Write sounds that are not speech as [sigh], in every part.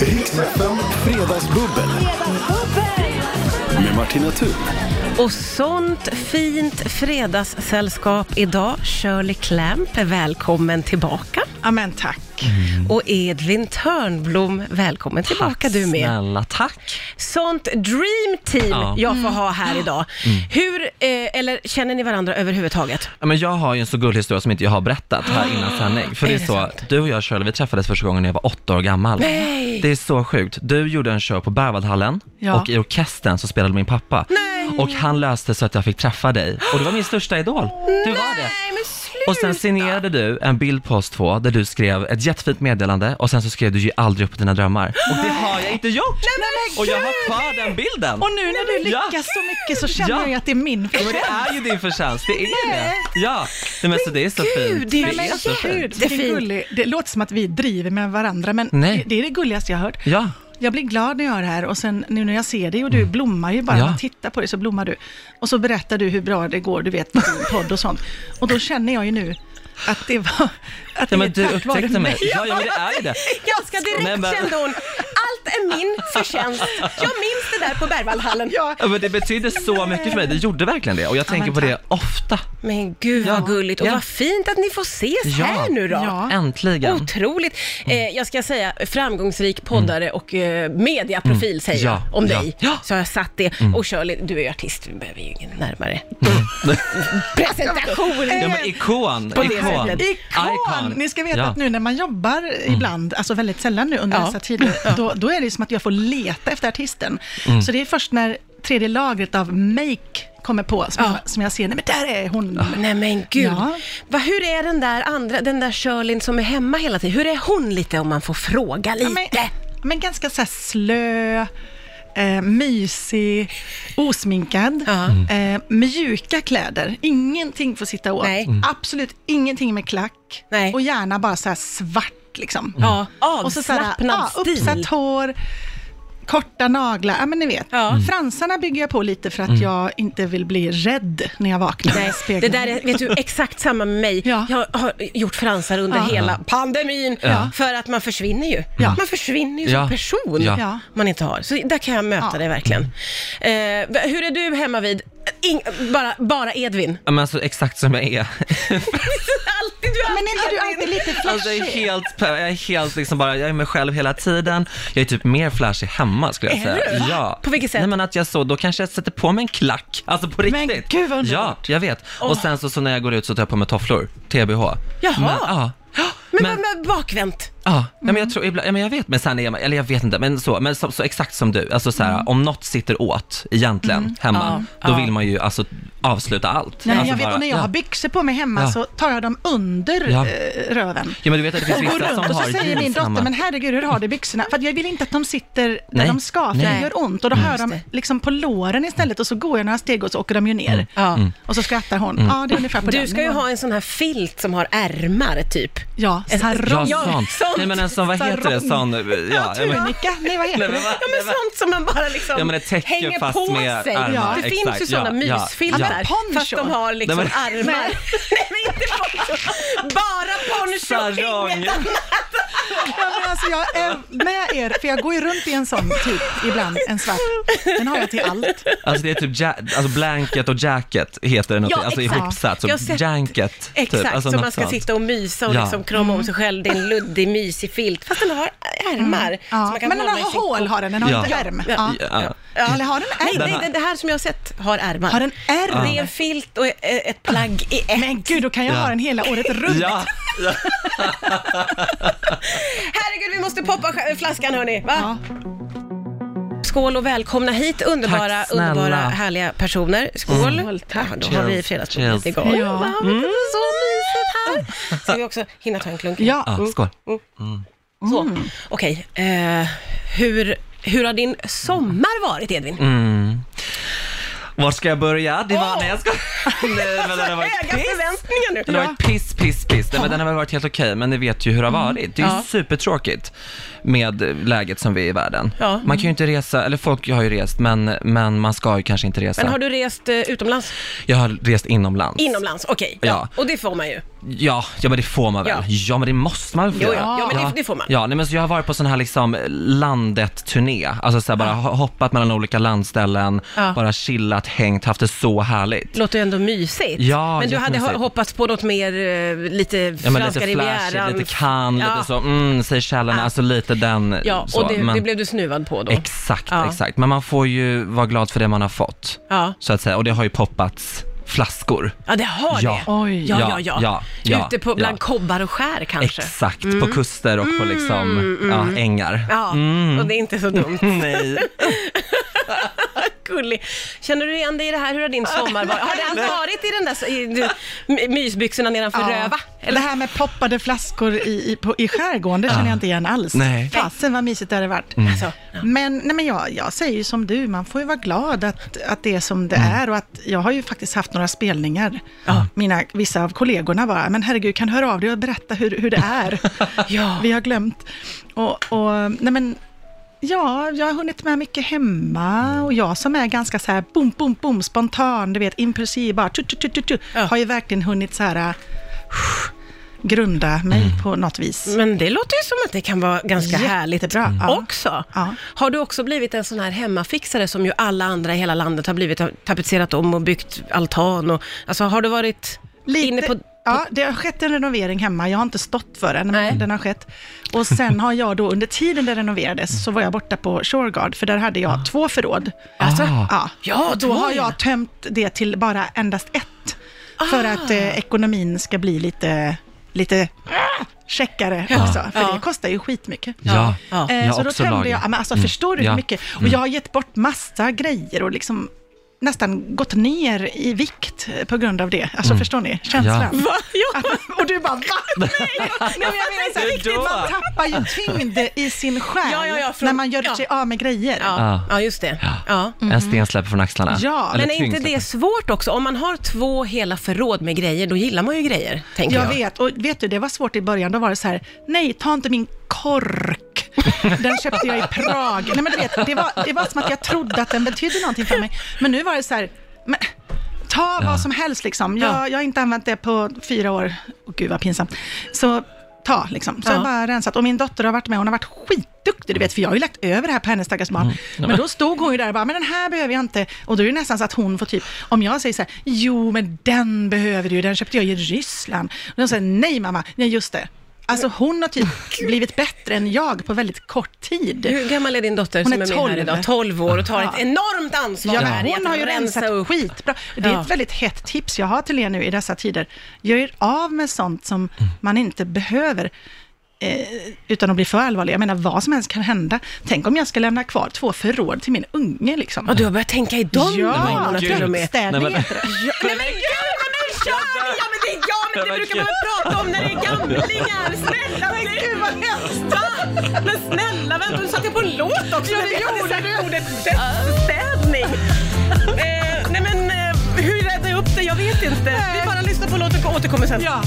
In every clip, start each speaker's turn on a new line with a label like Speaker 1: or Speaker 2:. Speaker 1: Riksfem Fredagsbubbel med Martina Thun.
Speaker 2: Och sånt fint fredagssällskap idag. Shirley Clamp är välkommen tillbaka.
Speaker 3: Ja men tack.
Speaker 4: Mm.
Speaker 2: Och Edvin Törnblom, välkommen tillbaka du med.
Speaker 4: Snälla, tack.
Speaker 2: Sånt dream team
Speaker 4: Ja. Mm.
Speaker 2: jag får ha här idag. Hur, eh, eller känner ni varandra överhuvudtaget?
Speaker 4: Ja, men jag har ju en så gullig historia som inte jag har berättat här innan sändning. För
Speaker 2: Ah, Är
Speaker 4: det är
Speaker 2: det
Speaker 4: så,
Speaker 2: sant?
Speaker 4: du och jag Shirley, vi träffades första gången när jag var åtta år gammal.
Speaker 2: Nej.
Speaker 4: Det är så sjukt. Du gjorde en show på Berwaldhallen
Speaker 3: Ja.
Speaker 4: och i orkestern så spelade min pappa.
Speaker 2: Nej.
Speaker 4: Och han löste så att jag fick träffa dig. Och du var min största idol. Du var det.
Speaker 2: Nej, men sluta.
Speaker 4: Och sen signerade du en bild på oss två där du skrev ett jättefint meddelande och sen så skrev du ju aldrig upp dina drömmar. Och det har jag inte gjort! och jag har kvar den bilden!
Speaker 3: Och nu när du
Speaker 4: Ja.
Speaker 3: lyckas så mycket så känner
Speaker 4: Ja.
Speaker 3: jag ju att det är min
Speaker 4: Ja, men
Speaker 3: förtjänst.
Speaker 4: det är ju din förtjänst, det är det. Ja, nej, men så det är så fint.
Speaker 2: det är
Speaker 3: Nej, men
Speaker 4: så
Speaker 3: gud,
Speaker 4: fint.
Speaker 2: Det är
Speaker 3: vilken
Speaker 2: fint.
Speaker 3: gullig. Det låter som att vi driver med varandra, men
Speaker 4: Nej.
Speaker 3: det är det gulligaste jag har hört.
Speaker 4: Ja, Mm.
Speaker 3: Jag blir glad när jag är här och sen nu när jag ser dig och du blommar ju bara,
Speaker 4: Ja.
Speaker 3: man tittar på dig så blommar du. Och så berättar du hur bra det går, du vet, med din podd och sånt. Och då känner jag ju nu att det var... Att det
Speaker 4: ja
Speaker 3: är
Speaker 4: men du
Speaker 3: tack vare
Speaker 4: upptäckte mig. Ja, ja, men det är ju det.
Speaker 2: Jag ska direkt
Speaker 4: Nej, men-
Speaker 2: kände hon, allt är min förtjänst. Jag minns det där på Berwaldhallen.
Speaker 3: Ja,
Speaker 4: Ja, men det betydde så mycket för mig, det gjorde verkligen det. Och jag tänker
Speaker 3: men
Speaker 4: på det ofta.
Speaker 2: Men gud vad
Speaker 4: Ja.
Speaker 2: gulligt och
Speaker 4: Ja.
Speaker 2: vad fint att ni får ses
Speaker 4: Ja.
Speaker 2: här nu då.
Speaker 3: Ja.
Speaker 4: Äntligen.
Speaker 2: Otroligt.
Speaker 4: Mm.
Speaker 2: Eh, jag ska säga framgångsrik poddare och eh, mediaprofil säger
Speaker 4: Mm. Ja,
Speaker 2: jag om
Speaker 4: ja,
Speaker 2: dig.
Speaker 4: ja. Mm.
Speaker 2: Så har jag satt det. Och Shirley, du är ju artist, vi behöver ju ingen närmare [laughs] presentation.
Speaker 4: Mm. Ja men ikon,
Speaker 2: På det
Speaker 4: ikon.
Speaker 2: sättet.
Speaker 3: Ikon!
Speaker 4: Icon.
Speaker 3: Ni ska veta
Speaker 4: Ja. Mm.
Speaker 3: att nu när man jobbar ibland, alltså väldigt sällan nu under
Speaker 2: Ja.
Speaker 3: dessa tider, då, då är det som att jag får leta efter artisten.
Speaker 4: Mm.
Speaker 3: Så det är först när tredje lagret av make kommer på som,
Speaker 2: Ja.
Speaker 3: jag, som jag ser, nej men där är hon.
Speaker 2: Nej men gud.
Speaker 3: Ja.
Speaker 2: Va, hur är den där andra, den där Shirley som är hemma hela tiden, hur är hon lite om man får fråga lite?
Speaker 3: Ja, men, men ganska så här slö, eh, mysig, osminkad,
Speaker 2: Ja.
Speaker 3: eh, mjuka kläder. Ingenting får sitta åt.
Speaker 2: Nej.
Speaker 3: Absolut ingenting med klack.
Speaker 2: Nej.
Speaker 3: Och gärna bara så här svart liksom.
Speaker 2: Ja,
Speaker 3: Och så så här,
Speaker 2: avslappnad
Speaker 3: ja,
Speaker 2: stil.
Speaker 3: uppsatt hår, korta naglar, ja men ni vet.
Speaker 2: Ja. Mm.
Speaker 3: Fransarna bygger jag på lite för att jag inte vill bli rädd när jag vaknar i
Speaker 2: Nej, det
Speaker 3: spegeln.
Speaker 2: där är, vet du, exakt samma med mig.
Speaker 3: Ja.
Speaker 2: Jag har gjort fransar under
Speaker 3: Ja.
Speaker 2: hela pandemin,
Speaker 4: Ja.
Speaker 2: för att man försvinner ju.
Speaker 3: Ja.
Speaker 2: Man försvinner ju som
Speaker 4: Ja.
Speaker 2: person,
Speaker 4: Ja.
Speaker 3: Ja.
Speaker 2: man inte har. Så där kan jag möta
Speaker 3: Ja.
Speaker 2: dig verkligen. Eh, v- hur är du hemma vid? Ing, bara, bara Edvin. [laughs]
Speaker 4: Ja, men alltså exakt som jag är.
Speaker 2: Alltid du
Speaker 3: Men är inte du alltid lite
Speaker 4: Alltså jag är
Speaker 3: flashig?
Speaker 4: helt, pe- jag är helt liksom bara, jag är mig själv hela tiden. Jag är typ mer flashig hemma skulle jag
Speaker 2: Är
Speaker 4: säga.
Speaker 2: du? Va?
Speaker 4: Ja.
Speaker 2: På vilket sätt?
Speaker 4: Nej men att jag så, då kanske jag sätter på mig en klack. Alltså på
Speaker 3: Men
Speaker 4: riktigt.
Speaker 3: gud, vad underbart.
Speaker 4: Ja, jag vet. Och sen så, så när jag går ut så tar jag på mig tofflor, TBH.
Speaker 2: Jaha.
Speaker 4: Men, ja.
Speaker 2: Men,
Speaker 4: Men-
Speaker 2: men, men bakvänt.
Speaker 4: Ja, ja, men
Speaker 3: Mm.
Speaker 4: jag tror ibland, ja, men jag vet, men sen är man, eller jag vet inte, men så, men så, så exakt som du, alltså så här,
Speaker 3: Mm.
Speaker 4: om något sitter åt egentligen hemma,
Speaker 2: Ja,
Speaker 4: då
Speaker 2: ja.
Speaker 4: vill man ju alltså avsluta allt.
Speaker 3: Nej,
Speaker 4: alltså
Speaker 3: jag vet, och när jag
Speaker 4: ja.
Speaker 3: har byxor på mig hemma
Speaker 4: Ja.
Speaker 3: så tar jag dem under
Speaker 4: Ja.
Speaker 3: eh, röven.
Speaker 4: Ja, men du vet att det finns
Speaker 3: Och går
Speaker 4: vissa
Speaker 3: runt
Speaker 4: som
Speaker 3: och så
Speaker 4: har
Speaker 3: säger min
Speaker 4: jeans
Speaker 3: dotter,
Speaker 4: hemma.
Speaker 3: men herregud hur har du byxorna? För att jag vill inte att de sitter där
Speaker 4: Nej.
Speaker 3: de ska, för
Speaker 4: Nej. Mm.
Speaker 3: det gör ont. Och då har jag dem
Speaker 2: Just
Speaker 3: liksom på låren istället och så går jag några steg och så åker de ju
Speaker 4: Mm.
Speaker 3: ner. Mm.
Speaker 2: Ja.
Speaker 3: Och så skrattar hon. Ja, det är ungefär på
Speaker 2: Du
Speaker 3: den
Speaker 2: ska ju
Speaker 3: nivån.
Speaker 2: ha en sån här filt som har ärmar, typ.
Speaker 3: Ja, sarong.
Speaker 4: Ja,
Speaker 2: Ja, [laughs]
Speaker 4: sånt.
Speaker 2: sånt.
Speaker 4: Nej men en sån, vad heter det, sån, ja,
Speaker 3: Ja,
Speaker 4: ja, men,
Speaker 3: tunika. Nej, vad
Speaker 4: Nej,
Speaker 3: heter
Speaker 4: men
Speaker 3: det?
Speaker 4: va?
Speaker 2: Ja, men sånt som man bara liksom
Speaker 4: Ja, men ett täcke
Speaker 2: hänger
Speaker 4: fast
Speaker 2: på
Speaker 4: med
Speaker 2: sig.
Speaker 4: armar,
Speaker 2: Det
Speaker 4: exakt.
Speaker 2: finns ju sådana
Speaker 4: Ja, ja,
Speaker 2: mysfiltar,
Speaker 3: ja. Ja, men
Speaker 2: fast de har liksom
Speaker 4: Nej,
Speaker 2: armar. [laughs] Nej. men inte poncho. Bara poncho,
Speaker 4: sarong.
Speaker 2: inget annat.
Speaker 3: Ja, men alltså, jag är med er, för jag går ju runt i en sån typ ibland, en svart. Den har jag till allt.
Speaker 4: Alltså det är typ, ja, alltså blanket och jacket heter det något,
Speaker 2: Ja,
Speaker 4: alltså
Speaker 2: exakt.
Speaker 4: ihopsatt, så
Speaker 2: Jag har sett-
Speaker 4: janket.
Speaker 2: Exakt,
Speaker 4: typ. alltså,
Speaker 2: så
Speaker 4: något
Speaker 2: man ska
Speaker 4: sånt.
Speaker 2: sitta och mysa och
Speaker 4: Ja.
Speaker 2: liksom krama om sig själv. Det är en luddig, mysig filt, fast den har ärmar. som
Speaker 3: Mm. Ja.
Speaker 2: man kan
Speaker 3: Men den
Speaker 2: hålla i
Speaker 3: har
Speaker 2: sin-
Speaker 3: hål, har den. Den har
Speaker 4: Ja.
Speaker 3: inte ärm.
Speaker 2: Ja.
Speaker 3: Ja.
Speaker 4: Ja.
Speaker 2: Ja.
Speaker 3: Eller har den ärm?
Speaker 2: Nej,
Speaker 4: Den
Speaker 2: nej,
Speaker 4: har-
Speaker 2: den, det här som jag har sett har ärmar.
Speaker 3: Har den ärm?
Speaker 2: Det är en filt och eh, ett plagg i ett.
Speaker 3: Men gud, då kan jag
Speaker 4: Ja.
Speaker 3: ha den hela året runt.
Speaker 4: Ja,
Speaker 2: Herregud, vi måste poppa sk- flaskan hörni. Va?
Speaker 3: Ja.
Speaker 2: Skål och välkomna hit underbara,
Speaker 4: Tack snälla.
Speaker 2: underbara härliga personer. Skål. Tack. Ja, då har vi
Speaker 4: Cheers.
Speaker 2: fredagsbubblet
Speaker 4: Cheers.
Speaker 2: igång.
Speaker 3: Ja. Mm.
Speaker 2: Va? Så mysigt här. Ska vi också hinna ta en klunk?
Speaker 3: Ja.
Speaker 4: ja skål.
Speaker 2: Så. Okej, eh, hur, hur har din sommar varit Edvin?
Speaker 4: Mm. Var ska jag börja? Det var,
Speaker 2: Åh!
Speaker 4: nej
Speaker 2: [laughs]
Speaker 4: jag ska... Nej men den har varit
Speaker 2: Höga förväntningar nu.
Speaker 4: Den har varit piss, piss, piss. Nej, men den har väl varit helt okej, men ni vet ju hur det har varit. Det är ju
Speaker 2: Mm. Ja.
Speaker 4: supertråkigt med eh, läget som vi är i världen.
Speaker 2: Ja.
Speaker 4: Man kan ju inte resa, eller folk har ju rest, men, men man ska ju kanske inte resa.
Speaker 2: Men har du rest eh, utomlands?
Speaker 4: Jag har rest inomlands.
Speaker 2: Inomlands, okej. Ja.
Speaker 4: Ja.
Speaker 2: Och det får man ju.
Speaker 4: Ja, ja men det får man väl.
Speaker 2: Ja.
Speaker 4: Ja, men det måste man väl få
Speaker 2: Jo, ja.
Speaker 4: göra.
Speaker 2: Ja, men det- det får man.
Speaker 4: Ja, nej, men så jag har varit på sån här liksom landet-turné. Alltså så här, bara ho- hoppat mellan olika landställen,
Speaker 3: Ja.
Speaker 4: bara chillat, hängt, haft det så härligt.
Speaker 2: Låter ju ändå mysigt.
Speaker 4: Ja,
Speaker 2: men du hade
Speaker 4: jättemysigt.
Speaker 2: ho- hoppats på något mer, eh, lite
Speaker 4: Ja, men
Speaker 2: franska
Speaker 4: lite
Speaker 2: rivieran.
Speaker 4: flashigt, lite Cannes,
Speaker 2: Ja.
Speaker 4: lite så, mm, Seychellerna,
Speaker 2: Ja.
Speaker 4: alltså lite den.
Speaker 2: Ja,
Speaker 4: så,
Speaker 2: och det,
Speaker 4: men,
Speaker 2: det blev du snuvad på då.
Speaker 4: Exakt,
Speaker 2: Ja.
Speaker 4: exakt. Men man får ju vara glad för det man har fått,
Speaker 2: Ja.
Speaker 4: så att säga. Och det har ju poppats flaskor.
Speaker 2: ja, det har
Speaker 4: Ja.
Speaker 2: det.
Speaker 3: Oj.
Speaker 2: Ja, ja,
Speaker 4: Ja,
Speaker 2: ja.
Speaker 4: ja, ja,
Speaker 2: Ute på, bland
Speaker 4: ja.
Speaker 2: kobbar och skär kanske. Mm.
Speaker 4: Exakt, på kuster och på liksom, ja, ängar.
Speaker 2: Ja,
Speaker 4: Mm.
Speaker 2: och det är inte så dumt.
Speaker 4: [laughs]
Speaker 2: [laughs]
Speaker 4: Nej.
Speaker 2: Gullig. Känner du igen dig i det här? Hur har din sommar varit? Har det alls varit i den där i, du- my- mysbyxorna nedanför röva?
Speaker 3: Det här med poppade flaskor i, i, på, i skärgården, det känner jag inte igen alls.
Speaker 4: Nej. Mm.
Speaker 3: Fasen vad mysigt det hade varit.
Speaker 2: Alltså,
Speaker 3: Men, nej men jag, jag säger ju som du, man får ju vara glad att, att det är som det
Speaker 2: Mm.
Speaker 3: är och att jag har ju faktiskt haft några spelningar. Mina, vissa av kollegorna bara, men herregud, kan du höra av dig och berätta hur, hur det är?
Speaker 2: [laughs] Ja.
Speaker 3: Vi har glömt. Och, och, nej men, ja, jag har hunnit med
Speaker 2: Mm.
Speaker 3: mycket hemma och jag som är ganska så här boom, boom, boom, spontan, du vet, impulsiv, bara tu, tu, tu, tu, tu,
Speaker 2: Ja.
Speaker 3: har ju verkligen hunnit så här pff, grunda mig
Speaker 2: Mm.
Speaker 3: på något vis.
Speaker 2: men det låter ju som att det kan vara ganska härligt
Speaker 3: Jättebra. Mm. Ja.
Speaker 2: också.
Speaker 3: Ja.
Speaker 2: Har du också blivit en sån här hemmafixare som ju alla andra i hela landet har blivit, har tapetserat om och byggt altan och, alltså har du varit inne på...
Speaker 3: Ja, det har skett en renovering hemma. Jag har inte stått för den,
Speaker 2: Nej.
Speaker 3: men den har skett. Och sen har jag då, under tiden det renoverades, så var jag borta på Shoreguard, för där hade jag två förråd.
Speaker 2: Ah.
Speaker 3: Ah.
Speaker 2: Alltså,
Speaker 3: Ja.
Speaker 2: Ja,
Speaker 3: och då
Speaker 2: två,
Speaker 3: har
Speaker 2: ja.
Speaker 3: jag tömt det till bara endast ett. För
Speaker 2: Ah.
Speaker 3: att eh, ekonomin ska bli lite, lite ah, checkare också. För
Speaker 2: Ja.
Speaker 3: det kostar ju skitmycket.
Speaker 4: Ja.
Speaker 2: Ja.
Speaker 3: Eh,
Speaker 4: Jag
Speaker 3: så
Speaker 4: har
Speaker 3: då
Speaker 4: också
Speaker 3: tömde
Speaker 4: lager.
Speaker 3: jag, ja, men alltså
Speaker 4: Mm.
Speaker 3: förstår du hur
Speaker 4: Ja.
Speaker 3: mycket? [laughs] Och jag har gett bort massa grejer och liksom nästan gått ner i vikt på grund av det. Alltså förstår ni känslan?
Speaker 4: Mm. Ja.
Speaker 2: Va? Ja.
Speaker 3: Att- [laughs] Och du bara
Speaker 4: [laughs]
Speaker 3: va? Nej, Nej men jag menar så här,
Speaker 4: Hur
Speaker 3: riktigt,
Speaker 4: då?
Speaker 3: man tappar ju tyngd i sin själ
Speaker 2: Ja, ja, ja, från-
Speaker 3: när man gör
Speaker 2: ja.
Speaker 3: sig av med grejer.
Speaker 2: Ja.
Speaker 4: Ja.
Speaker 2: ja, just det. Ja.
Speaker 4: En sten släpper från axlarna.
Speaker 3: Ja,
Speaker 4: Eller
Speaker 2: Mm. Men är inte
Speaker 4: tyngd
Speaker 2: det svårt också? Om man har två hela förråd med grejer, då gillar man ju grejer, tänker jag.
Speaker 3: Jag vet, och vet du, det var svårt i början. Då var det så här, nej, ta inte min kork. [laughs] Den köpte jag i Prag. Nej, men du vet, det, var, det var som att jag trodde att den betydde någonting för mig. Men nu var det så här, men, ta vad som helst liksom. Jag,
Speaker 2: Ja.
Speaker 3: jag har inte använt det på fyra år. Åh gud vad pinsamt. Så ta liksom. Så
Speaker 2: Ja.
Speaker 3: jag bara rensat. Och min dotter har varit med, hon har varit skitduktig, du vet, för jag har ju lagt över det här på hennes stackars
Speaker 2: Mm.
Speaker 3: barn. Men då stod hon ju där och bara, men den här behöver jag inte. Och då är det nästan så att hon får typ, om jag säger så här, jo men den behöver du ju, den köpte jag i Ryssland. Och de säger, nej mamma, nej just det. Alltså hon
Speaker 2: [laughs]
Speaker 3: har typ blivit bättre än jag på väldigt kort tid.
Speaker 2: Hur gammal är din dotter
Speaker 3: Hon
Speaker 2: som är, med
Speaker 3: är
Speaker 2: här
Speaker 3: 12.
Speaker 2: idag? 12 år och tar
Speaker 3: Ja.
Speaker 2: ett enormt ansvar
Speaker 3: Ja,
Speaker 2: här i
Speaker 3: men
Speaker 2: att
Speaker 3: hon har ju
Speaker 2: rensa
Speaker 3: rensat
Speaker 2: upp.
Speaker 3: skitbra. Det är
Speaker 2: Ja.
Speaker 3: ett väldigt hett tips jag har till er nu i dessa tider. Gör er av med sånt som
Speaker 4: Mm.
Speaker 3: man inte behöver. Eh, utan att bli för allvarlig. Jag menar, vad som helst kan hända. Tänk om jag ska lämna kvar två förråd till min unge liksom.
Speaker 2: Ja, du har börjat tänka i de
Speaker 3: ja,
Speaker 2: banorna till och med.
Speaker 3: dödsstädning
Speaker 4: Nej, men-
Speaker 3: heter det.
Speaker 2: Nej men gud, men nu kör vi! Ja men det är jag, men det
Speaker 4: Men
Speaker 2: brukar
Speaker 4: gud.
Speaker 2: man prata om när det är gamlingar. Snälla men gud vad hemskt! Va? Men snälla vänta, du satte på en låt också. Ja, det gjorde du. Ordet dödsstädning. eh, nej men eh, hur räddar jag upp det? Jag vet inte. Vi bara lyssnar på låten och återkommer sen.
Speaker 3: Ja.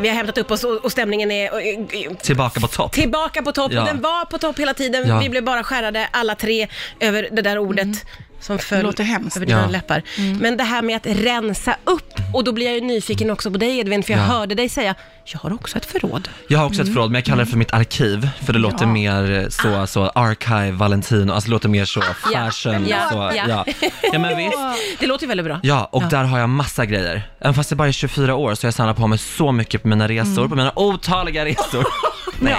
Speaker 2: Vi har hämtat upp oss och och stämningen är eh, eh,
Speaker 4: Tillbaka på topp.
Speaker 2: tillbaka på topp
Speaker 4: Ja.
Speaker 2: och den var på topp hela tiden.
Speaker 4: Ja.
Speaker 2: Vi blev bara skärrade alla tre över det där ordet som föll
Speaker 3: Det låter hemskt.
Speaker 2: över dina
Speaker 4: Ja.
Speaker 2: läppar. Men det här med att rensa upp och då blir jag ju nyfiken också på dig Edvin för jag
Speaker 4: Ja.
Speaker 2: hörde dig säga jag har också ett förråd.
Speaker 4: Jag har också ett förråd, men jag kallar det för mitt arkiv, för det låter mer eh, så, så archive, Valentino, alltså det låter mer så fashion.
Speaker 2: Ah. Ja,
Speaker 4: Så,
Speaker 2: ja.
Speaker 4: ja.
Speaker 2: [laughs]
Speaker 4: ja, men visst.
Speaker 2: Det låter ju väldigt bra.
Speaker 4: Ja, och där har jag massa grejer. Även fast jag bara är 24 år så har jag samlat på mig så mycket på mina resor, på mina otaliga resor. [laughs] Nej.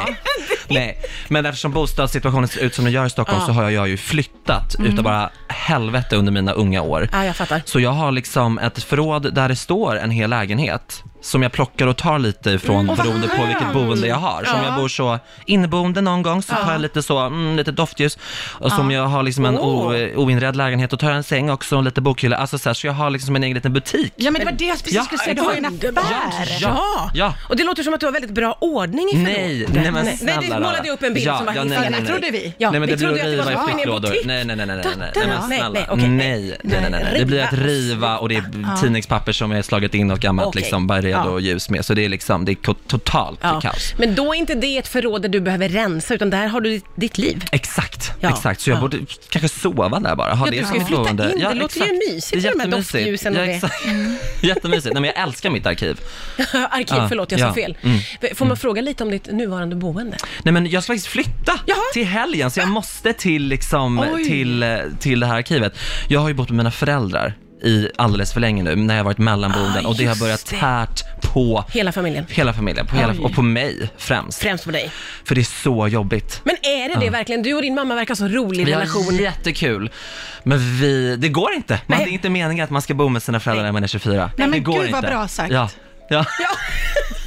Speaker 4: Nej, men eftersom bostadssituationen ser ut som den gör i Stockholm så har jag, jag har ju flyttat utav bara helvete under mina unga år.
Speaker 2: Ja, jag fattar.
Speaker 4: Så jag har liksom ett förråd där det står en hel lägenhet som jag plockar och tar lite ifrån
Speaker 3: vad
Speaker 4: beroende på
Speaker 3: skönt.
Speaker 4: vilket boende jag
Speaker 2: Mm.
Speaker 4: har. Så om jag bor så inneboende någon gång så tar jag lite så, mm, lite doftljus. Och som jag har liksom en o,
Speaker 2: Oh.
Speaker 4: oinredd lägenhet, då tar jag en säng också och lite bokhylla. Alltså så, här, så jag har liksom en egen liten butik.
Speaker 3: Ja, men det var det jag precis
Speaker 4: Ja,
Speaker 3: skulle säga. Du har ju en affär.
Speaker 2: Ja.
Speaker 4: Ja.
Speaker 2: och det låter som att du har väldigt bra ordning i
Speaker 4: Nej,
Speaker 2: förrådet.
Speaker 4: nej men
Speaker 2: nej,
Speaker 4: snälla
Speaker 2: du målade
Speaker 4: Lara.
Speaker 2: upp en bild som var
Speaker 4: nej,
Speaker 2: helt
Speaker 4: nej, nej,
Speaker 3: Det trodde vi.
Speaker 2: Ja,
Speaker 4: nej men
Speaker 2: vi
Speaker 4: det blir
Speaker 2: trodde
Speaker 4: att
Speaker 2: ju att det
Speaker 4: riva
Speaker 2: var
Speaker 4: i
Speaker 2: en
Speaker 4: flyttlådor.
Speaker 2: butik.
Speaker 4: Nej, nej, nej, nej, nej, nej, nej, men
Speaker 2: Nej,
Speaker 4: snälla.
Speaker 2: nej, okej, nej.
Speaker 4: Nej, nej, nej, nej. Det blir att
Speaker 2: Riva.
Speaker 4: riva och det är tidningspapper som är slaget in något gammalt
Speaker 2: Okej.
Speaker 4: liksom, bara i med
Speaker 2: Ja.
Speaker 4: och ljus med. Så det är liksom, det är ko- totalt
Speaker 2: Ja.
Speaker 4: kaos.
Speaker 2: Men då är inte det ett förråd där du behöver rensa, utan där har du ditt- ditt liv. [laughs]
Speaker 4: Exakt,
Speaker 2: Ja.
Speaker 4: exakt. Så jag
Speaker 2: Ja.
Speaker 4: borde kanske sova där bara. Ha
Speaker 2: Ja,
Speaker 4: det
Speaker 2: du
Speaker 4: som
Speaker 2: ska
Speaker 4: ett
Speaker 2: flytta
Speaker 4: boende.
Speaker 2: in. Det låter ju
Speaker 4: exakt.
Speaker 2: mysigt
Speaker 4: Det är
Speaker 2: med de här
Speaker 4: jättemysigt.
Speaker 2: doftljusen och
Speaker 4: ja,
Speaker 2: det. Mm.
Speaker 4: exakt. [laughs] Jättemysigt. Nej men jag älskar mitt arkiv.
Speaker 2: Arkiv,
Speaker 4: Ja,
Speaker 2: förlåt, jag sa
Speaker 4: ja, Mm.
Speaker 2: fel. Får man fråga lite om ditt nuvarande boende?
Speaker 4: Nej men jag ska faktiskt flytta
Speaker 2: Jaha.
Speaker 4: till helgen så jag måste till, liksom,
Speaker 3: Oj.
Speaker 4: till, eh, till det här arkivet. Jag har ju bott med mina föräldrar i alldeles för länge nu när jag har varit mellanboenden
Speaker 2: Ah,
Speaker 4: och det har
Speaker 2: just
Speaker 4: börjat
Speaker 2: det.
Speaker 4: tärt på
Speaker 2: Hela familjen?
Speaker 4: hela familjen på hela,
Speaker 3: Oj.
Speaker 4: och på mig främst.
Speaker 2: Främst på dig.
Speaker 4: För det är så jobbigt.
Speaker 2: Men är det det verkligen? Du och din mamma verkar ha så rolig
Speaker 4: Vi
Speaker 2: relation.
Speaker 4: har jättekul, men vi, det går inte. Man, det
Speaker 2: Nej.
Speaker 4: är inte meningen att man ska bo med sina föräldrar när man är 24.
Speaker 3: Nej, men
Speaker 4: det går
Speaker 3: gud,
Speaker 4: inte.
Speaker 3: vad bra sagt.
Speaker 4: Ja. Ja.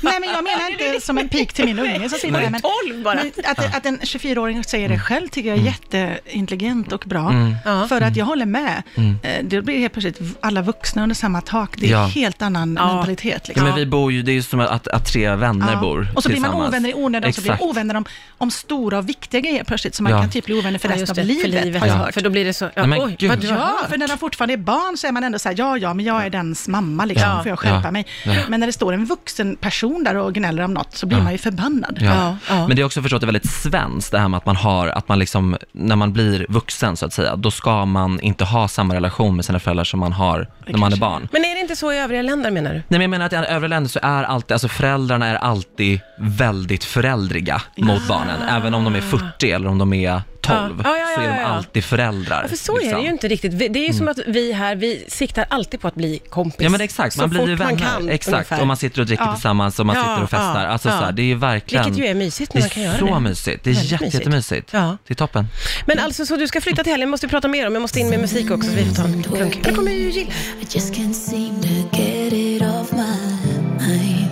Speaker 3: Nej, men jag menar inte som en pik till min unge som sitter där, men,
Speaker 2: 12 bara.
Speaker 3: men att, att en 24-åring säger
Speaker 4: Mm.
Speaker 3: det själv tycker jag är jätteintelligent och bra.
Speaker 2: Ja.
Speaker 3: För
Speaker 4: Mm.
Speaker 3: att jag håller med. Eh, Det blir helt plötsligt alla vuxna under samma tak. Det är
Speaker 4: Ja.
Speaker 3: en helt annan
Speaker 2: Ja.
Speaker 3: mentalitet.
Speaker 4: Ja,
Speaker 3: Liksom.
Speaker 4: men vi bor ju, det är ju som att, att tre vänner
Speaker 3: Ja.
Speaker 4: bor
Speaker 3: Och så blir man
Speaker 4: tillsammans.
Speaker 3: ovänner i onödan, så blir man
Speaker 4: Exakt.
Speaker 3: ovänner om, om stora och viktiga grejer plötsligt, så man
Speaker 4: Ja.
Speaker 3: kan typ bli ovänner för
Speaker 2: Ja,
Speaker 3: resten
Speaker 2: just det,
Speaker 3: av livet, Alltså, har jag hört.
Speaker 2: För då blir det så... Ja,
Speaker 4: Nej, men
Speaker 2: oj,
Speaker 4: gud.
Speaker 2: vad du har
Speaker 3: Ja,
Speaker 2: hört.
Speaker 3: för när de fortfarande är barn så är man ändå så här, ja, ja, men jag är dens mamma, liksom,
Speaker 2: Ja.
Speaker 3: får jag skärpa
Speaker 4: Ja.
Speaker 3: mig.
Speaker 4: Ja.
Speaker 3: Men när det står en vuxen person där och gnäller om något så blir man ju förbannad.
Speaker 4: Ja.
Speaker 2: Ja, ja.
Speaker 4: Men det är också förstått det är väldigt svenskt det här med att man har, att man liksom, när man blir vuxen så att säga, då ska man inte ha samma relation med sina föräldrar som man har när man är
Speaker 3: kanske.
Speaker 4: barn.
Speaker 2: Men är det inte så i övriga länder menar du?
Speaker 4: Nej men jag menar att i övriga länder så är alltid, alltså föräldrarna är alltid väldigt föräldriga mot barnen. Även om de är 40 eller om de är 12
Speaker 2: Ja, ja, ja,
Speaker 4: så är de
Speaker 2: ja, ja.
Speaker 4: alltid föräldrar.
Speaker 2: Ja, för så är
Speaker 4: liksom. Mm.
Speaker 2: det ju inte riktigt. Vi- Det är ju som att vi här, vi siktar alltid på att bli kompis.
Speaker 4: Ja men exakt,
Speaker 2: så
Speaker 4: man blir
Speaker 2: fort
Speaker 4: ju vänner.
Speaker 2: man kan
Speaker 4: exakt,
Speaker 2: ungefär.
Speaker 4: och man sitter och dricker
Speaker 3: Ja.
Speaker 4: tillsammans och man
Speaker 2: Ja,
Speaker 4: sitter och festar.
Speaker 2: ja,
Speaker 4: alltså
Speaker 2: ja.
Speaker 4: så här, det är ju verkligen...
Speaker 2: Vilket ju är mysigt
Speaker 4: det
Speaker 2: när
Speaker 4: är
Speaker 2: man kan göra
Speaker 4: så
Speaker 2: det.
Speaker 4: mysigt, det är
Speaker 2: Väldigt
Speaker 4: jätte,
Speaker 2: mysigt.
Speaker 4: jättemysigt.
Speaker 2: Ja.
Speaker 4: Det är toppen.
Speaker 2: Men alltså, så du ska flytta till helgen, måste vi prata mer om. Jag måste in med musik också, så vi får ta en klunk. Här kommer ju Jill.
Speaker 5: I just can't seem to get it off my mind.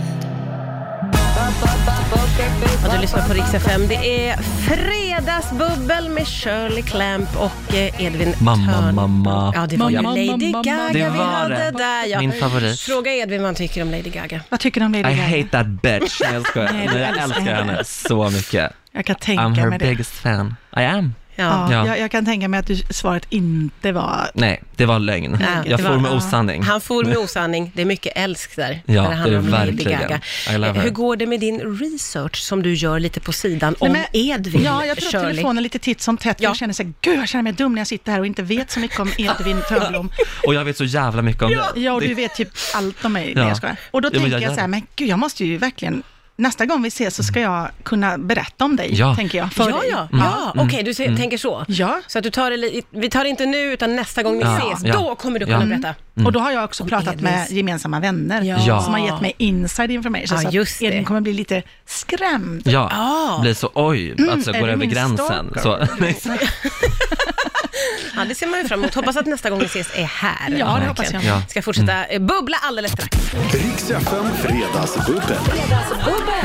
Speaker 2: Ja, du lyssnar på Rix FM. Det är Fredagsbubbel med Shirley Clamp och eh, Edvin
Speaker 4: Mamma,
Speaker 2: Törn.
Speaker 4: mamma.
Speaker 2: Ja, det var ju
Speaker 3: Mamma,
Speaker 2: Lady
Speaker 3: mamma,
Speaker 2: Gaga
Speaker 3: mamma.
Speaker 2: vi
Speaker 4: Det var
Speaker 2: hade
Speaker 4: det.
Speaker 2: där. Ja.
Speaker 4: Min favorit.
Speaker 2: Fråga Edvin vad han tycker om Lady Gaga.
Speaker 3: Vad tycker du om Lady
Speaker 4: I
Speaker 3: Gaga?
Speaker 4: hate that bitch. Nej, jag skojar.
Speaker 3: Nej,
Speaker 4: Nej,
Speaker 3: du
Speaker 4: jag
Speaker 3: älskar
Speaker 4: älskar
Speaker 3: henne.
Speaker 4: henne så mycket.
Speaker 3: Jag kan tänka
Speaker 4: I'm her
Speaker 3: mig det.
Speaker 4: biggest fan. I am.
Speaker 2: Ja.
Speaker 3: Ja,
Speaker 4: Ja.
Speaker 3: Jag, jag kan tänka mig att du, svaret inte var...
Speaker 4: Nej, det var lögn.
Speaker 2: Nej, det
Speaker 4: jag
Speaker 2: var-
Speaker 4: for med osanning.
Speaker 2: Han for med osanning. Det är mycket älsk där.
Speaker 4: Ja,
Speaker 2: när handlar
Speaker 4: det är
Speaker 2: om Lady
Speaker 4: verkligen.
Speaker 2: Gaga.
Speaker 4: I love
Speaker 2: Eh,
Speaker 4: her.
Speaker 2: Hur går det med din research som du gör lite på sidan
Speaker 3: Nej,
Speaker 2: om
Speaker 3: men-
Speaker 2: Edvin,
Speaker 3: Ja, jag tar upp
Speaker 2: Shirley?
Speaker 3: telefonen lite titt som tätt. för
Speaker 2: Ja.
Speaker 3: Jag känner så här, gud, jag känner mig dum när jag sitter här och inte vet så mycket om Edvin Törnblom.
Speaker 4: Och jag vet så jävla mycket om dig.
Speaker 3: Ja, och du
Speaker 4: Det-
Speaker 3: vet typ allt om mig. Nej,
Speaker 4: Ja.
Speaker 3: Jag skojar. Och då
Speaker 4: Ja, men
Speaker 3: tänker
Speaker 4: jag
Speaker 3: jag,
Speaker 4: gör
Speaker 3: så här,
Speaker 4: det.
Speaker 3: men gud, jag måste ju verkligen... Nästa gång vi ses så ska jag kunna berätta om dig,
Speaker 4: Ja.
Speaker 3: tänker jag. För Mm.
Speaker 2: Ja,
Speaker 3: dig.
Speaker 2: ja, ja. okej, du ser, tänker så.
Speaker 3: Ja.
Speaker 2: Så att du tar det, li- vi tar det inte nu, utan nästa gång ni
Speaker 4: Ja,
Speaker 2: ses,
Speaker 4: ja.
Speaker 2: då kommer du kunna
Speaker 4: Ja.
Speaker 2: berätta.
Speaker 3: Mm. Och då har jag också pratat
Speaker 2: Edvins.
Speaker 3: med gemensamma vänner
Speaker 2: Ja.
Speaker 3: som har gett mig inside information.
Speaker 2: Ja,
Speaker 3: så att
Speaker 2: just det.
Speaker 3: Edvin kommer bli lite skrämd.
Speaker 4: Ja,
Speaker 2: Ah.
Speaker 4: blir så oj, alltså
Speaker 3: Mm. är
Speaker 4: går
Speaker 3: det
Speaker 4: över
Speaker 3: min
Speaker 4: gränsen. Så,
Speaker 3: stalker?
Speaker 2: Ja, det ser man ju fram emot. Hoppas att nästa gång ni ses är här.
Speaker 3: Ja, det
Speaker 2: Verkligen.
Speaker 3: hoppas jag.
Speaker 4: [laughs] ja.
Speaker 2: Ska fortsätta eh, bubbla alldeles strax.
Speaker 1: Riks FM Fredagsbubbel.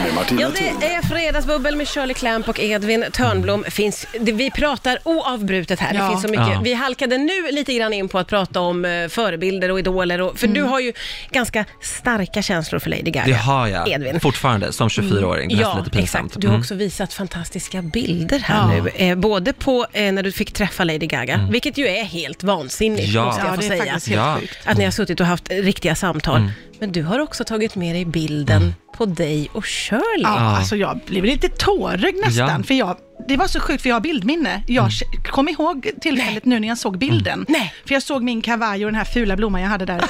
Speaker 1: Med Martina
Speaker 2: Ja,
Speaker 1: Thun.
Speaker 2: det är fredagsbubbel med Shirley Clamp och Edvin Törnblom. Finns, det, vi pratar oavbrutet här. Det
Speaker 3: Ja.
Speaker 2: finns så mycket.
Speaker 4: Ja.
Speaker 2: Vi halkade nu lite grann in på att prata om eh, förebilder och idoler. Och, för
Speaker 3: Mm.
Speaker 2: du har ju ganska starka känslor för Lady Gaga.
Speaker 4: Det har jag
Speaker 2: Edvin.
Speaker 4: fortfarande som 24-åring. Det är nästan
Speaker 2: Ja,
Speaker 4: lite pinsamt.
Speaker 2: exakt. Du har också visat fantastiska bilder här
Speaker 3: Mm. Ja. Mm.
Speaker 2: nu. Eh, både på eh, när du fick träffa Lady Gaga, vilket ju är helt vansinnigt,
Speaker 4: Ja.
Speaker 2: måste jag
Speaker 4: Ja,
Speaker 2: få
Speaker 3: det är
Speaker 2: säga.
Speaker 3: faktiskt helt Mm.
Speaker 4: Ja.
Speaker 3: sjukt.
Speaker 2: Att ni har suttit och haft riktiga samtal. Men du har också tagit med dig bilden på dig och Shirley.
Speaker 3: Mm. Ja, alltså jag blev lite tårögd nästan,
Speaker 4: Ja. Mm.
Speaker 3: för jag, det var så sjukt för jag har bildminne. Jag k- kom ihåg tillfället nu när jag såg bilden.
Speaker 2: Nej.
Speaker 3: För jag såg min kavaj och den här fula blomman jag hade där.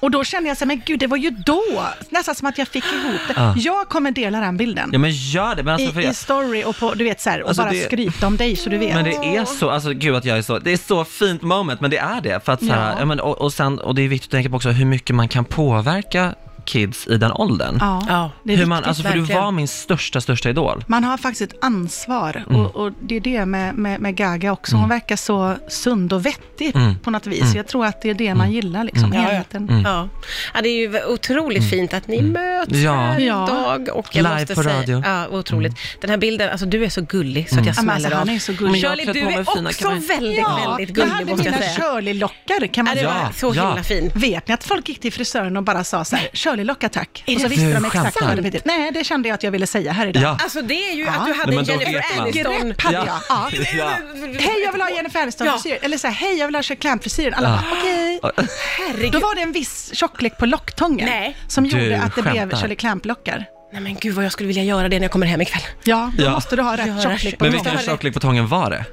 Speaker 3: Och då kände jag så här, men gud, det var ju då. Nästan som att jag fick ihop det. Jag kommer dela den bilden.
Speaker 4: Ja men gör det, men alltså, för
Speaker 3: I, I
Speaker 4: jag,
Speaker 3: story och på, du vet så här, och
Speaker 4: Alltså,
Speaker 3: bara
Speaker 4: det-
Speaker 3: skryta om dig så du vet.
Speaker 4: men det är så, alltså gud att jag är så, det är så fint moment, men det är det. För att så här,
Speaker 3: Ja.
Speaker 4: ja. men, och, och sen, och det är viktigt att tänka på också hur mycket man kan påverka kids i den åldern.
Speaker 3: Ja,
Speaker 2: Ja.
Speaker 3: det är
Speaker 4: hur man,
Speaker 3: viktigt.
Speaker 4: alltså, för du
Speaker 2: verkligen.
Speaker 4: var min största, största idol.
Speaker 3: Man har faktiskt ett ansvar
Speaker 4: Mm.
Speaker 3: och, och det är det med, med, med Gaga också. Hon verkar så sund och vettig
Speaker 4: Mm.
Speaker 3: på något vis.
Speaker 2: Mm.
Speaker 3: Jag tror att det är det man gillar liksom. Helheten.
Speaker 2: Ja. ja, det är ju otroligt fint att ni möts söt
Speaker 4: Ja.
Speaker 2: varje
Speaker 3: Mm. Ja.
Speaker 2: dag. Och jag
Speaker 4: Live
Speaker 2: måste
Speaker 4: på
Speaker 2: säga,
Speaker 4: radio.
Speaker 2: Ja, otroligt. Den här bilden, alltså du är så gullig så att jag
Speaker 3: Mm. Ja, men
Speaker 2: smäller
Speaker 3: alltså,
Speaker 2: av.
Speaker 3: han är så gullig.
Speaker 4: jag har
Speaker 2: Shirley,
Speaker 4: klätt
Speaker 2: du
Speaker 4: på mig
Speaker 2: är
Speaker 4: fina
Speaker 2: också
Speaker 4: kavaj.
Speaker 2: väldigt, väldigt
Speaker 3: jag
Speaker 2: gullig
Speaker 3: hade
Speaker 2: måste jag
Speaker 3: mina
Speaker 2: säga.
Speaker 3: Shirley-lockar kan man
Speaker 2: Ja, det
Speaker 3: säga.
Speaker 2: var
Speaker 4: Ja,
Speaker 2: så
Speaker 4: ja.
Speaker 2: himla fin.
Speaker 3: Vet ni att folk gick till frisören och bara sa så här, Shirley-locka tack.
Speaker 2: Är
Speaker 3: Och så
Speaker 2: det
Speaker 3: visste de
Speaker 4: sant?
Speaker 3: exakt vad det
Speaker 4: Skämtar.
Speaker 3: betydde. Nej, det kände jag att jag ville säga här idag.
Speaker 4: Ja.
Speaker 2: Alltså det är ju
Speaker 3: Ja.
Speaker 2: att du hade
Speaker 4: Nej,
Speaker 2: en
Speaker 4: men då
Speaker 2: Jennifer
Speaker 4: vet man.
Speaker 2: Aniston.
Speaker 3: Grepp hade jag. Ja.
Speaker 4: [laughs] Ja.
Speaker 3: Hej, jag vill ha Jennifer
Speaker 2: Ja.
Speaker 3: Aniston-frisyr. Eller så här, hej, jag vill ha Shirley Clamp-frisyren. Alla bara, okej. Då
Speaker 2: Herregud.
Speaker 3: var det en viss tjocklek på locktången
Speaker 2: Nej.
Speaker 3: som
Speaker 4: Du
Speaker 3: gjorde att det blev
Speaker 4: skämtar.
Speaker 3: Shirley Clamp-lockar.
Speaker 2: Nej men gud vad jag skulle vilja göra det när jag kommer hem ikväll.
Speaker 3: Ja, då
Speaker 4: Ja.
Speaker 3: måste du ha rätt
Speaker 2: Göra
Speaker 3: tjocklek på
Speaker 4: Men
Speaker 3: lången.
Speaker 4: vilken tjocklek på tången var det?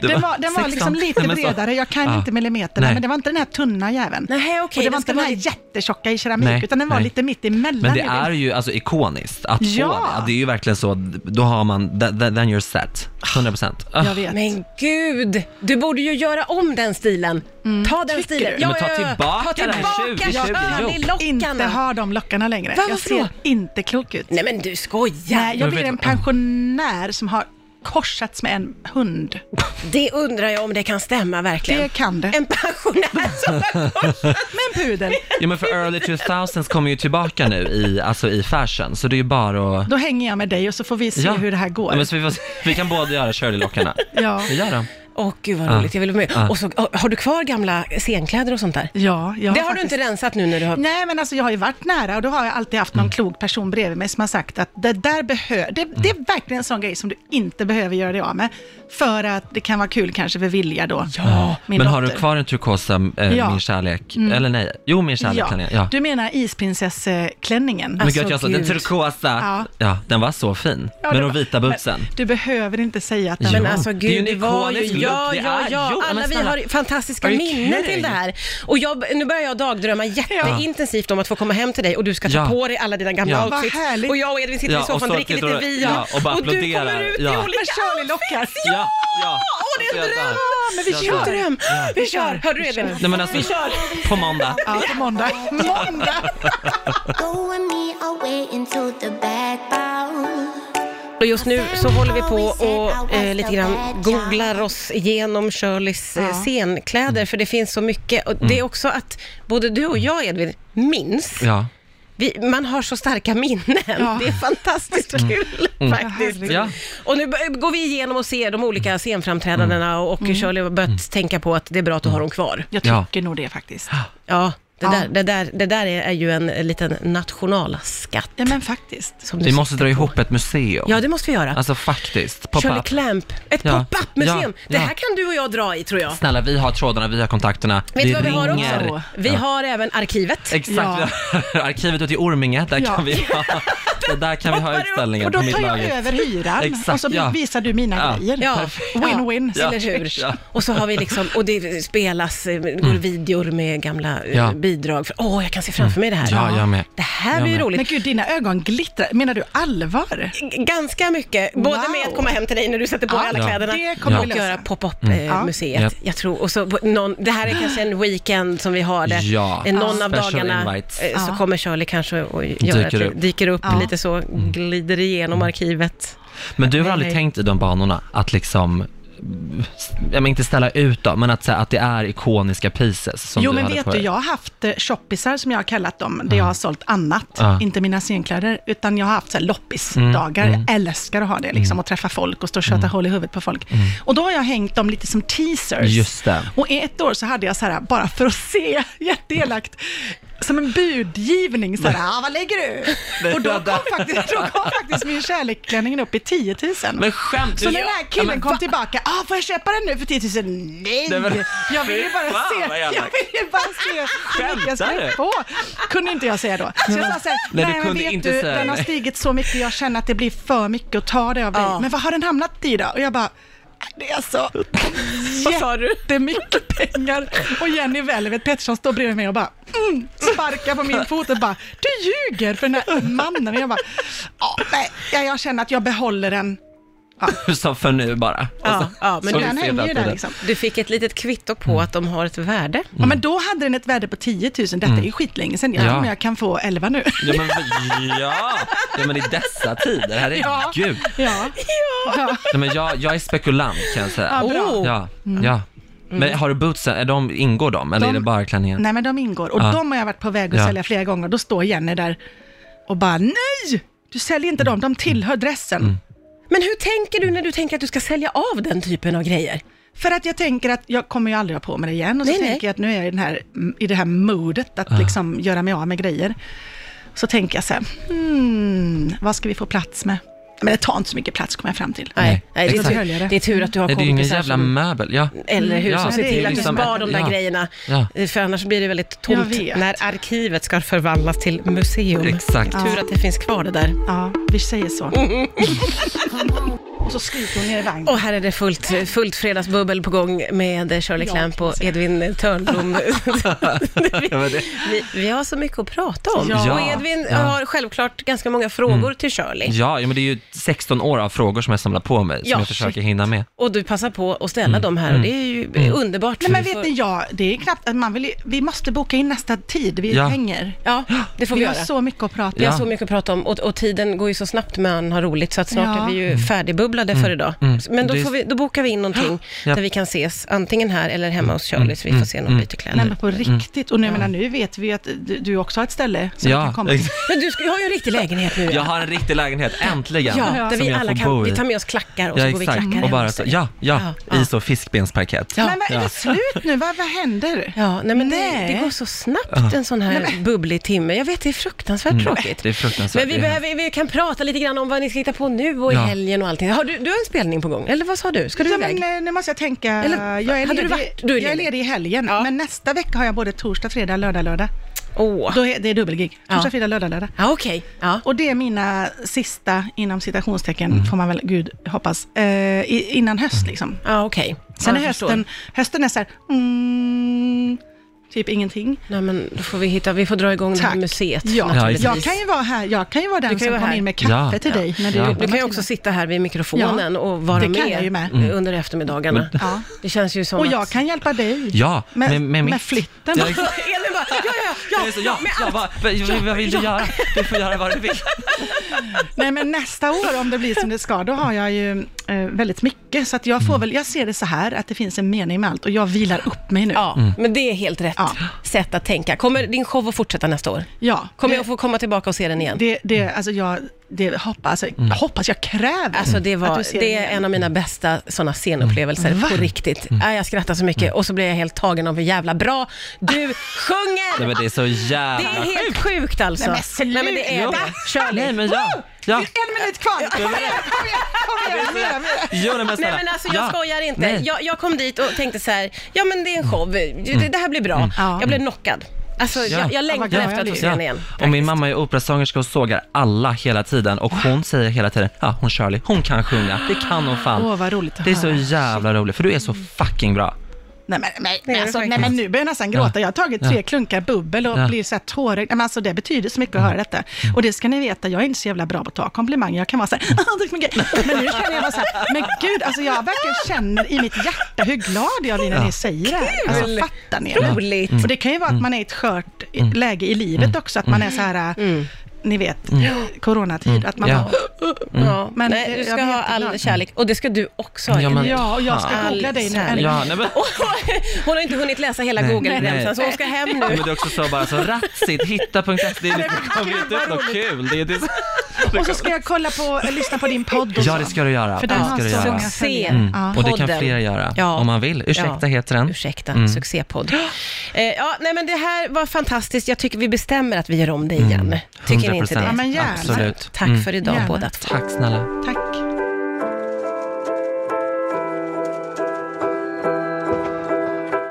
Speaker 4: Det
Speaker 3: Den var, den var
Speaker 4: 16?
Speaker 3: liksom lite
Speaker 4: Nej, men så-
Speaker 3: bredare, jag kan
Speaker 4: Ja.
Speaker 3: inte millimeterna,
Speaker 4: Nej.
Speaker 3: men det var inte den här tunna jäveln.
Speaker 2: Nej, okej,
Speaker 3: Och det
Speaker 2: den
Speaker 3: var
Speaker 2: ska
Speaker 3: inte den här
Speaker 2: vara lite-
Speaker 3: jättetjocka i keramik,
Speaker 4: Nej,
Speaker 3: utan den var
Speaker 4: nej.
Speaker 3: lite mitt emellan.
Speaker 4: Men det
Speaker 3: Jag vet
Speaker 4: är ju alltså ikoniskt att
Speaker 3: Ja.
Speaker 4: få det. Det är ju verkligen så, då har man, th- th- then you're set. 100%. Ah.
Speaker 3: Jag vet.
Speaker 2: Men gud, du borde ju göra om den stilen. Ta den
Speaker 3: Mm. Tycker
Speaker 2: stilen.
Speaker 3: du?
Speaker 4: Men ta
Speaker 2: ta
Speaker 4: tillbaka den här
Speaker 2: tillbaka
Speaker 4: 2020,
Speaker 3: Inte
Speaker 2: Shirley-lockarna.
Speaker 3: ha de lockarna längre.
Speaker 2: Va,
Speaker 3: jag
Speaker 2: varför
Speaker 3: ser
Speaker 2: då?
Speaker 3: inte klok ut.
Speaker 2: Nej men du skojar.
Speaker 3: Nej, jag
Speaker 4: Jag
Speaker 3: blir
Speaker 4: vet-
Speaker 3: en pensionär som har korsats med en
Speaker 2: [laughs]
Speaker 3: hund.
Speaker 2: Det undrar jag om det kan stämma verkligen.
Speaker 3: Det kan det.
Speaker 2: En pensionär som
Speaker 4: [laughs]
Speaker 2: har korsat.
Speaker 3: Med en pudel.
Speaker 4: Ja men för early 2000s kommer ju tillbaka nu i, alltså i fashion, så det är ju bara att...
Speaker 3: Då hänger jag med dig och så får vi se hur det här går.
Speaker 4: Ja, men så vi, får, vi kan båda göra Shirley-lockarna.
Speaker 3: Ja.
Speaker 4: Vi gör dem.
Speaker 2: Åh gud vad roligt, jag vill vara med.
Speaker 4: Ja.
Speaker 2: Och så, har du kvar gamla scenkläder och sånt där?
Speaker 3: Ja, jag
Speaker 2: det har
Speaker 3: faktiskt-
Speaker 2: du inte rensat nu när du har...
Speaker 3: Nej, men alltså jag har ju varit nära och då har jag alltid haft någon
Speaker 4: Mm.
Speaker 3: klok person bredvid mig som har sagt att det där behöver, det, det är verkligen en sån grej som du inte behöver göra dig av med. För att det kan vara kul kanske för Vilja då. Ja,
Speaker 4: men har du kvar en turkosa, eh,
Speaker 3: Ja. Mm.
Speaker 4: min kärlek? Eller nej, jo min kärlek
Speaker 3: ja.
Speaker 4: ja. ja.
Speaker 3: Du menar isprinsessklänningen?
Speaker 4: Men
Speaker 2: Alltså,
Speaker 4: gud, jag sa den
Speaker 2: gud.
Speaker 4: turkosa,
Speaker 3: Ja.
Speaker 4: ja. den var så fin.
Speaker 3: Ja,
Speaker 4: men
Speaker 3: det
Speaker 4: de
Speaker 3: var-
Speaker 4: vita bootsen.
Speaker 3: Men Du behöver inte säga att den
Speaker 2: Men
Speaker 4: Ja.
Speaker 2: alltså
Speaker 4: Det är
Speaker 2: gud,
Speaker 4: ju en
Speaker 2: det var ju...
Speaker 4: ikonisk look,
Speaker 2: Ja,
Speaker 4: det
Speaker 2: ja,
Speaker 4: är-
Speaker 2: ja.
Speaker 4: jo, men
Speaker 2: Alla vi
Speaker 4: snälla.
Speaker 2: har fantastiska
Speaker 4: Are you
Speaker 2: minnen
Speaker 4: kidding?
Speaker 2: till det här. Och jag, nu börjar jag dagdrömma jätteintensivt om att få komma hem till dig och du ska ta
Speaker 4: Ja.
Speaker 2: på dig alla dina gamla
Speaker 4: Ja.
Speaker 3: Vad
Speaker 2: outfits.
Speaker 3: härligt.
Speaker 2: Och jag och Edvin sitter
Speaker 4: Ja,
Speaker 2: i
Speaker 4: och
Speaker 2: soffan och
Speaker 4: så
Speaker 2: dricker lite
Speaker 4: sitter och-
Speaker 2: vin.
Speaker 4: ja, och bara
Speaker 2: du kommer
Speaker 4: applåderar.
Speaker 2: ut i
Speaker 4: Ja.
Speaker 3: Med
Speaker 2: olika
Speaker 3: Charlie-lockar.
Speaker 4: Ja, ja.
Speaker 2: Åh, det är en
Speaker 4: Jag dör.
Speaker 2: dröm!
Speaker 3: men vi
Speaker 4: Jag
Speaker 3: kör.
Speaker 4: dör.
Speaker 2: Dröm. Vi kör! Hörde du Edvin?
Speaker 4: Nej men alltså, på måndag.
Speaker 3: Ja, på måndag. måndag!
Speaker 6: Going me away into the back bound.
Speaker 2: Och just nu så håller vi på och eh, lite grann googlar oss igenom Shirleys eh, scenkläder, för det finns så mycket. Och
Speaker 4: Mm.
Speaker 2: Det är också att både du och jag, Edvin, minns.
Speaker 4: Ja.
Speaker 2: Vi, man har så starka minnen. Det är fantastiskt
Speaker 3: Mm.
Speaker 2: kul faktiskt.
Speaker 4: Ja. Mm.
Speaker 2: Och nu b- går vi igenom och ser de olika scenframträdandena och, och
Speaker 3: Mm.
Speaker 2: Shirley har börjat tänka på att det är bra att du har dem kvar.
Speaker 3: Jag
Speaker 4: Ja.
Speaker 3: tycker nog det faktiskt.
Speaker 2: Ja, det,
Speaker 3: Ja.
Speaker 2: Där, det, där, det där är, är ju en liten nationalskatt.
Speaker 3: Ja, men faktiskt.
Speaker 2: Som du
Speaker 4: Vi måste
Speaker 2: sitter
Speaker 4: dra
Speaker 2: på.
Speaker 4: ihop ett museum.
Speaker 2: Ja, det måste vi göra.
Speaker 4: Alltså faktiskt,
Speaker 2: Shirley
Speaker 4: pop-up.
Speaker 2: Clamp, ett
Speaker 4: Ja.
Speaker 2: pop-up museum.
Speaker 4: Ja.
Speaker 2: Det här
Speaker 4: Ja.
Speaker 2: kan du och jag dra i tror jag.
Speaker 4: Snälla, vi har trådarna, vi har kontakterna.
Speaker 2: Vet du vad vi har
Speaker 4: ringer.
Speaker 2: också? Vi har även arkivet.
Speaker 4: Exakt,
Speaker 3: Ja.
Speaker 4: vi har [laughs] arkivet ute i Orminge, där
Speaker 3: Ja.
Speaker 4: kan vi
Speaker 3: [laughs]
Speaker 4: ha, det där kan vi ha
Speaker 2: Hoppar upp.
Speaker 4: utställningen
Speaker 3: Och då
Speaker 4: på mitt
Speaker 3: tar jag
Speaker 4: lager.
Speaker 3: över hyran och
Speaker 4: Exakt,
Speaker 3: så
Speaker 4: ja.
Speaker 3: visar du mina
Speaker 4: Ja.
Speaker 3: grejer.
Speaker 2: Ja.
Speaker 3: Win-win.
Speaker 4: Ja.
Speaker 2: Eller hur?
Speaker 4: Ja. Mm.
Speaker 2: Och så har vi liksom, och det spelas eh, går videor med gamla eh,
Speaker 4: Ja.
Speaker 2: bidrag. För- Åh, jag kan se framför mig det här.
Speaker 4: Ja, jag med.
Speaker 2: Det här
Speaker 4: Jag
Speaker 2: blir ju
Speaker 4: med.
Speaker 2: roligt.
Speaker 3: Men gud, dina ögon glittrar. Menar du allvar?
Speaker 2: G- Ganska mycket, både
Speaker 3: Wow.
Speaker 2: med att komma hem till dig när du sätter på dig alla
Speaker 4: Ja.
Speaker 2: kläderna
Speaker 3: Det kommer
Speaker 2: och
Speaker 3: vi lösa.
Speaker 2: göra pop-up
Speaker 3: Ja.
Speaker 2: eh, museet.
Speaker 4: Mm. Japp.
Speaker 2: Jag tror, och så, på någon, det här är kanske en weekend som vi har det.
Speaker 4: Ja.
Speaker 2: Eh, Någon av
Speaker 4: Special
Speaker 2: dagarna
Speaker 4: invites.
Speaker 2: eh, så
Speaker 3: Ja.
Speaker 2: kommer Shirley kanske och göra
Speaker 4: Dyker
Speaker 2: dyker upp,
Speaker 4: upp. Mm.
Speaker 2: dyker upp
Speaker 3: Ja.
Speaker 2: lite så, glider igenom arkivet.
Speaker 4: Men du har aldrig
Speaker 2: Nej.
Speaker 4: tänkt i de banorna att liksom, jag menar inte ställa ut dem, men att, säga att det är ikoniska pieces som
Speaker 3: Jo,
Speaker 4: du
Speaker 3: men
Speaker 4: hade
Speaker 3: vet
Speaker 4: på
Speaker 3: du,
Speaker 4: dig.
Speaker 3: jag har haft eh, shoppisar som jag har kallat dem, där jag har sålt annat,
Speaker 4: Ja.
Speaker 3: inte mina scenkläder, utan jag har haft så här loppisdagar.
Speaker 4: Mm.
Speaker 3: Jag älskar att ha det, liksom, och träffa folk och stå och köta hål i huvudet på folk. Och då har jag hängt dem lite som teasers.
Speaker 4: Mm. Just det.
Speaker 3: Och i ett år så hade jag så här, bara för att se, [laughs] jätteelakt, som en budgivning, så här, ah, vad lägger
Speaker 4: [laughs]
Speaker 3: du?
Speaker 4: Nej,
Speaker 3: Och då
Speaker 4: vänta.
Speaker 3: kom faktiskt, då kom faktiskt min kärleksklänning upp i 10 000.
Speaker 4: Men skämt!
Speaker 3: Så när den här
Speaker 4: Ja,
Speaker 3: killen
Speaker 4: men
Speaker 3: kom
Speaker 4: va?
Speaker 3: tillbaka, ah, får jag köpa den nu för 10 000? Nej!
Speaker 4: Nej, men-
Speaker 3: jag ville
Speaker 4: Fy
Speaker 3: bara
Speaker 4: fan,
Speaker 3: se,
Speaker 4: vad
Speaker 3: jag
Speaker 4: elakt.
Speaker 3: ville bara se hur mycket jag
Speaker 4: Skämtar
Speaker 3: skulle
Speaker 4: du?
Speaker 3: få. Kunde inte jag säga då. Så jag sa så här, nej,
Speaker 4: Nej, du
Speaker 3: men
Speaker 4: kunde
Speaker 3: vet
Speaker 4: inte
Speaker 3: du,
Speaker 4: säga
Speaker 3: den har
Speaker 4: det."
Speaker 3: stigit så mycket, jag känner att det blir för mycket att ta det av dig.
Speaker 2: Ja.
Speaker 3: Men vad har den hamnat i då? Och jag bara, det är
Speaker 4: [laughs]
Speaker 3: så
Speaker 2: Vad sa du?
Speaker 3: jättemycket pengar. Och Jenny Velvet Pettersson står bredvid mig och bara mm, sparkar på min fot och bara, du ljuger för den här mannen. Och jag bara, ja, nej, jag- jag känner att jag behåller den.
Speaker 4: [laughs] Som för nu bara.
Speaker 2: Ja,
Speaker 4: Och så-
Speaker 2: ja, men
Speaker 4: så
Speaker 3: den
Speaker 4: vi
Speaker 3: hänger
Speaker 4: ser
Speaker 3: ju
Speaker 4: den
Speaker 3: där
Speaker 4: tiden.
Speaker 3: liksom.
Speaker 2: Du fick ett litet kvitto på
Speaker 4: Mm.
Speaker 2: att de har ett värde.
Speaker 3: Ja, men då hade den ett värde på 10 000. Detta är ju skitlänge sedan. Jag
Speaker 4: Mm. Ja.
Speaker 3: tror om jag kan få 11
Speaker 4: [laughs]
Speaker 3: nu.
Speaker 4: Ja men, ja. ja, men i dessa tider, herregud.
Speaker 3: Ja. ja.
Speaker 4: Nej, men jag, jag är spekulant kan jag säga.
Speaker 3: Ja, bra.
Speaker 2: Oh.
Speaker 4: Ja, ja.
Speaker 2: Mm.
Speaker 4: Men har du bootsen, är de, ingår de eller
Speaker 3: De-
Speaker 4: är det bara klänningen?
Speaker 3: Nej, men de ingår. Och
Speaker 4: Ja.
Speaker 3: de har jag varit på väg att
Speaker 4: Ja.
Speaker 3: sälja flera gånger. Då står Jenny där och bara nej! Du säljer inte dem, de tillhör dressen.
Speaker 4: Mm.
Speaker 2: Men hur tänker du när du tänker att du ska sälja av den typen av grejer?
Speaker 3: För att jag tänker att jag kommer ju aldrig ha på mig det igen. Och så
Speaker 2: Nej, nej.
Speaker 3: tänker jag att nu är jag i, den här, i det här modet att liksom göra mig av med grejer. Så tänker jag så här, hmm, vad ska vi få plats med? Men det tar inte så mycket plats kommer jag fram till.
Speaker 4: Nej,
Speaker 2: Nej det, är
Speaker 4: exakt.
Speaker 2: tur, det är tur att du har
Speaker 4: Nej, det är ju ingen
Speaker 2: kompisar
Speaker 4: jävla
Speaker 2: som,
Speaker 4: möbel. Ja.
Speaker 2: eller hur,
Speaker 4: Ja,
Speaker 2: som ser
Speaker 3: det är
Speaker 2: till att
Speaker 3: liksom
Speaker 2: du spar
Speaker 4: ett-
Speaker 2: de där
Speaker 4: ja.
Speaker 2: grejerna. Eh,
Speaker 4: Ja.
Speaker 2: För annars blir det väldigt
Speaker 3: Jag
Speaker 2: tomt
Speaker 3: vet.
Speaker 2: när arkivet ska förvandlas till museum.
Speaker 4: Exakt.
Speaker 2: Tur att det finns kvar det där.
Speaker 3: Ja, vi
Speaker 2: [laughs]
Speaker 3: säger så. och så skriker hon ner i vagnen.
Speaker 2: Och här är det fullt, fullt fredagsbubbel på gång med Shirley Clamp och Edvin
Speaker 4: [laughs]
Speaker 2: Törnblom.
Speaker 4: [laughs] Ja, men det-
Speaker 2: vi, vi har så mycket att prata om.
Speaker 4: Ja.
Speaker 2: Och Edvin
Speaker 4: Ja. Mm.
Speaker 2: har självklart ganska många frågor till Shirley.
Speaker 4: Ja, ja, men det är ju 16 år av frågor som jag samlar på mig, som
Speaker 2: Ja,
Speaker 4: jag försöker hinna med.
Speaker 2: Och du passar på att ställa
Speaker 4: Mm.
Speaker 2: dem här och det är ju eh, underbart.
Speaker 3: Nej men
Speaker 2: Vi får-
Speaker 3: vet ni, ja, det är knappt att man vill ju, vi måste boka in nästa tid, vi
Speaker 4: Ja.
Speaker 3: hänger.
Speaker 2: Ja, det får vi,
Speaker 3: Vi har
Speaker 2: göra.
Speaker 3: så mycket att prata om.
Speaker 2: Vi har
Speaker 4: Ja.
Speaker 2: så mycket att prata om och, och tiden går ju så snabbt med Ann har roligt så att snart
Speaker 3: Ja.
Speaker 2: är vi ju färdigbubblade för idag. Men då,
Speaker 4: Mm. Det är-
Speaker 2: får vi, då bokar vi in någonting
Speaker 4: Ja. Mm.
Speaker 2: där vi kan ses, antingen här eller hemma hos Shirley så vi får se när hon byter kläder.
Speaker 3: Nej men på riktigt, och nu, jag menar, nu vet vi att du- du också har ett ställe som vi kan komma till.
Speaker 2: Men du ska, jag har ju en riktig lägenhet nu.
Speaker 4: Jag har en riktig lägenhet, äntligen!
Speaker 2: Ja, där
Speaker 4: som
Speaker 2: vi
Speaker 4: jag
Speaker 2: alla
Speaker 4: får bo
Speaker 2: kan,
Speaker 4: i.
Speaker 2: vi tar med oss klackar och
Speaker 4: ja,
Speaker 2: så går vi
Speaker 4: exakt.
Speaker 2: klackar
Speaker 4: och
Speaker 2: hemma
Speaker 4: bara
Speaker 2: hos
Speaker 4: så,
Speaker 2: dig.
Speaker 4: ja, ja,
Speaker 2: Ja, ja.
Speaker 4: i så fiskbensparkett.
Speaker 3: Men vad är det slut nu? Vad, vad händer?
Speaker 2: Ja, nej men
Speaker 3: Nej.
Speaker 2: Det, det går så snabbt en sån här bubblig timme. Jag vet, det är fruktansvärt tråkigt.
Speaker 4: Mm. det är fruktansvärt.
Speaker 2: Men vi,
Speaker 4: Det är
Speaker 2: behöver, vi kan prata lite grann om vad ni ska hitta på nu och i
Speaker 4: Ja.
Speaker 2: helgen och allting. Har du, du har en spelning på gång, eller vad sa du? Ska du
Speaker 3: Ja,
Speaker 2: iväg?
Speaker 3: men, eh, nu måste jag tänka.
Speaker 2: Eller,
Speaker 3: jag, är
Speaker 2: hade du
Speaker 3: ledig,
Speaker 2: varit- du är
Speaker 3: jag är
Speaker 2: ledig.
Speaker 3: ledig i helgen, men nästa vecka har jag både torsdag, fredag, lördag, lördag.
Speaker 2: Åh.
Speaker 3: Då är, det är dubbelgig. Torsdag,
Speaker 2: Ah. Ja.
Speaker 3: fredag, lördag, lördag.
Speaker 2: Ja, okej. Ja.
Speaker 3: Och det är mina sista, inom citationstecken,
Speaker 4: Mm.
Speaker 3: får man väl, gud hoppas, eh, i, innan höst liksom.
Speaker 2: Ja, okej.
Speaker 3: Sen
Speaker 2: ja,
Speaker 3: är
Speaker 2: jag förstår.
Speaker 3: hösten, hösten är så här, mm, typ ingenting.
Speaker 2: Nej, men då får vi hitta, vi får dra igång det här
Speaker 3: Tack.
Speaker 2: museet
Speaker 3: Ja,
Speaker 2: naturligtvis.
Speaker 3: jag kan ju vara här, jag kan ju vara den
Speaker 2: kan ju
Speaker 3: som
Speaker 2: vara
Speaker 3: kommer
Speaker 2: här.
Speaker 3: in med kaffe
Speaker 4: Ja.
Speaker 3: till dig. När du
Speaker 4: Ja.
Speaker 3: jobbar,
Speaker 2: Du kan ju
Speaker 3: Martina.
Speaker 2: också sitta här vid mikrofonen
Speaker 3: Ja,
Speaker 2: och vara
Speaker 3: det kan jag ju
Speaker 2: med, Mm.
Speaker 3: med. Mm.
Speaker 2: under eftermiddagarna.
Speaker 3: Ja.
Speaker 2: Det känns ju som
Speaker 3: Och
Speaker 2: att-
Speaker 3: jag kan hjälpa dig.
Speaker 4: Ja,
Speaker 3: med,
Speaker 4: med- med mitt.
Speaker 3: flytten.
Speaker 4: Ja, exakt.
Speaker 2: Elin bara, ja, ja, ja,
Speaker 4: Ja, så, ja,
Speaker 2: [laughs] med
Speaker 4: ja,
Speaker 2: allt.
Speaker 4: vad, vad, vad vill du göra? Du får göra vad du
Speaker 2: [laughs]
Speaker 4: vill.
Speaker 3: Nej men nästa år om det blir som det ska, då har jag ju eh, väldigt mycket. Så att jag
Speaker 4: Mm.
Speaker 3: får väl, jag ser det så här att det finns en mening med allt och jag vilar upp mig nu.
Speaker 2: Ja, men det är helt rätt
Speaker 3: Ja.
Speaker 2: sätt att tänka. Kommer din show att fortsätta nästa år?
Speaker 3: Ja,
Speaker 2: Kommer
Speaker 3: det,
Speaker 2: jag få komma tillbaka och se den igen?
Speaker 3: det, det, alltså jag, det hoppas, alltså,
Speaker 4: Mm.
Speaker 3: jag hoppas, jag kräver
Speaker 2: Alltså det,
Speaker 3: Mm. att du
Speaker 2: var,
Speaker 3: ser
Speaker 2: det
Speaker 3: igen. Mm.
Speaker 2: är en av mina bästa sådana scenupplevelser
Speaker 3: Va?
Speaker 2: på riktigt. Nej, Jag skrattar så mycket och så blir jag helt tagen av hur jävla bra du sjunger!
Speaker 4: Nej, men det är så
Speaker 2: Det är
Speaker 4: jävla
Speaker 2: helt sjukt alltså.
Speaker 3: Nej, men sluta.
Speaker 2: Nej, men det är det. Shirley.
Speaker 4: Nej, men ja. ja.
Speaker 3: En minut kvar! Kom igen, kom igen, kom igen, kom igen, kom igen.
Speaker 4: Jo, nej, men
Speaker 2: Nej
Speaker 4: snälla.
Speaker 2: men alltså jag
Speaker 4: ja.
Speaker 2: skojar inte.
Speaker 4: Nej.
Speaker 2: Jag, jag kom dit och tänkte så här, ja men det är en show, det, det här blir bra.
Speaker 3: Ja.
Speaker 2: Jag blev knockad. Alltså
Speaker 4: Mm. Ja.
Speaker 2: jag, jag
Speaker 4: Ja,
Speaker 2: längtar
Speaker 3: vad glad
Speaker 2: efter att
Speaker 3: jag
Speaker 2: få
Speaker 3: blir.
Speaker 2: se henne igen.
Speaker 4: Och min mamma är operasångerska och sågar alla hela tiden och hon säger hela tiden, ja hon Shirley, hon kan sjunga, det kan hon fan.
Speaker 3: Åh, vad roligt att
Speaker 4: Det är så
Speaker 3: höra.
Speaker 4: jävla roligt, för du är så fucking bra.
Speaker 3: Nej men, men,
Speaker 2: är det
Speaker 3: men, alltså, nej
Speaker 2: faktiskt.
Speaker 3: men nu börjar jag nästan gråta. Jag har tagit tre klunkar bubbel och
Speaker 4: Ja. Mm.
Speaker 3: blir så här tårögd. Nej, Men alltså det betyder så mycket att höra detta. Och det ska ni veta, jag är inte så jävla bra på att ta komplimanger. Jag kan vara så här, [laughs] "Ah, tack så mycket." men nu känner jag bara så här, men gud, alltså jag verkligen känner i mitt hjärta hur glad jag blir när ni säger det här. Alltså fattar ni?
Speaker 2: Roligt.
Speaker 4: Mm.
Speaker 3: Och det kan ju vara att man är i ett skört i- läge i livet också, att
Speaker 4: Mm.
Speaker 3: man är så här, äh, ni vet, coronatid, att man
Speaker 4: Ja.
Speaker 3: bara,
Speaker 4: Mm.
Speaker 2: Ja.
Speaker 3: Men
Speaker 2: Nej,
Speaker 3: det-
Speaker 2: du
Speaker 3: jag
Speaker 2: ska
Speaker 3: blir
Speaker 2: ha all
Speaker 3: jätteglad.
Speaker 2: kärlek och det ska du också ha.
Speaker 4: Ja,
Speaker 2: Elin.
Speaker 4: men-
Speaker 3: ja, och jag ska
Speaker 2: All
Speaker 3: googla dig nu.
Speaker 2: kärlek.
Speaker 3: Ellen.
Speaker 4: Ja, nej, men,
Speaker 2: [laughs] Hon har inte hunnit läsa hela
Speaker 4: Nej.
Speaker 2: Google-remsan
Speaker 4: Nej.
Speaker 2: så hon ska hem
Speaker 4: nej, men
Speaker 2: nu.
Speaker 4: det är också så bara så ratsigt, hitta.se, det är lite, kom inte upp något kul. Det är, det är så,
Speaker 3: Och så ska jag kolla på, lyssna på din podd och
Speaker 4: ja,
Speaker 3: så.
Speaker 4: det ska du göra.
Speaker 3: För
Speaker 4: det
Speaker 3: den har
Speaker 2: Alltså,
Speaker 4: ska du
Speaker 3: så
Speaker 4: göra.
Speaker 3: många
Speaker 2: Succé.
Speaker 3: följare.
Speaker 4: Mm. Och det kan
Speaker 2: Podden.
Speaker 4: fler göra, om man vill. Ursäkta
Speaker 2: Ja.
Speaker 4: heter den. Mm.
Speaker 2: Ursäkta, succépodd.
Speaker 4: [gasps]
Speaker 2: Eh, ja, nej men det här var fantastiskt. Jag tycker vi bestämmer att vi
Speaker 4: Mm.
Speaker 2: gör om det igen. Tycker ni inte
Speaker 4: 100%.
Speaker 2: det?
Speaker 3: Ja, men gärna.
Speaker 4: Absolut.
Speaker 2: Tack för idag
Speaker 3: Gärna.
Speaker 2: båda två.
Speaker 4: Tack snälla.
Speaker 3: Tack.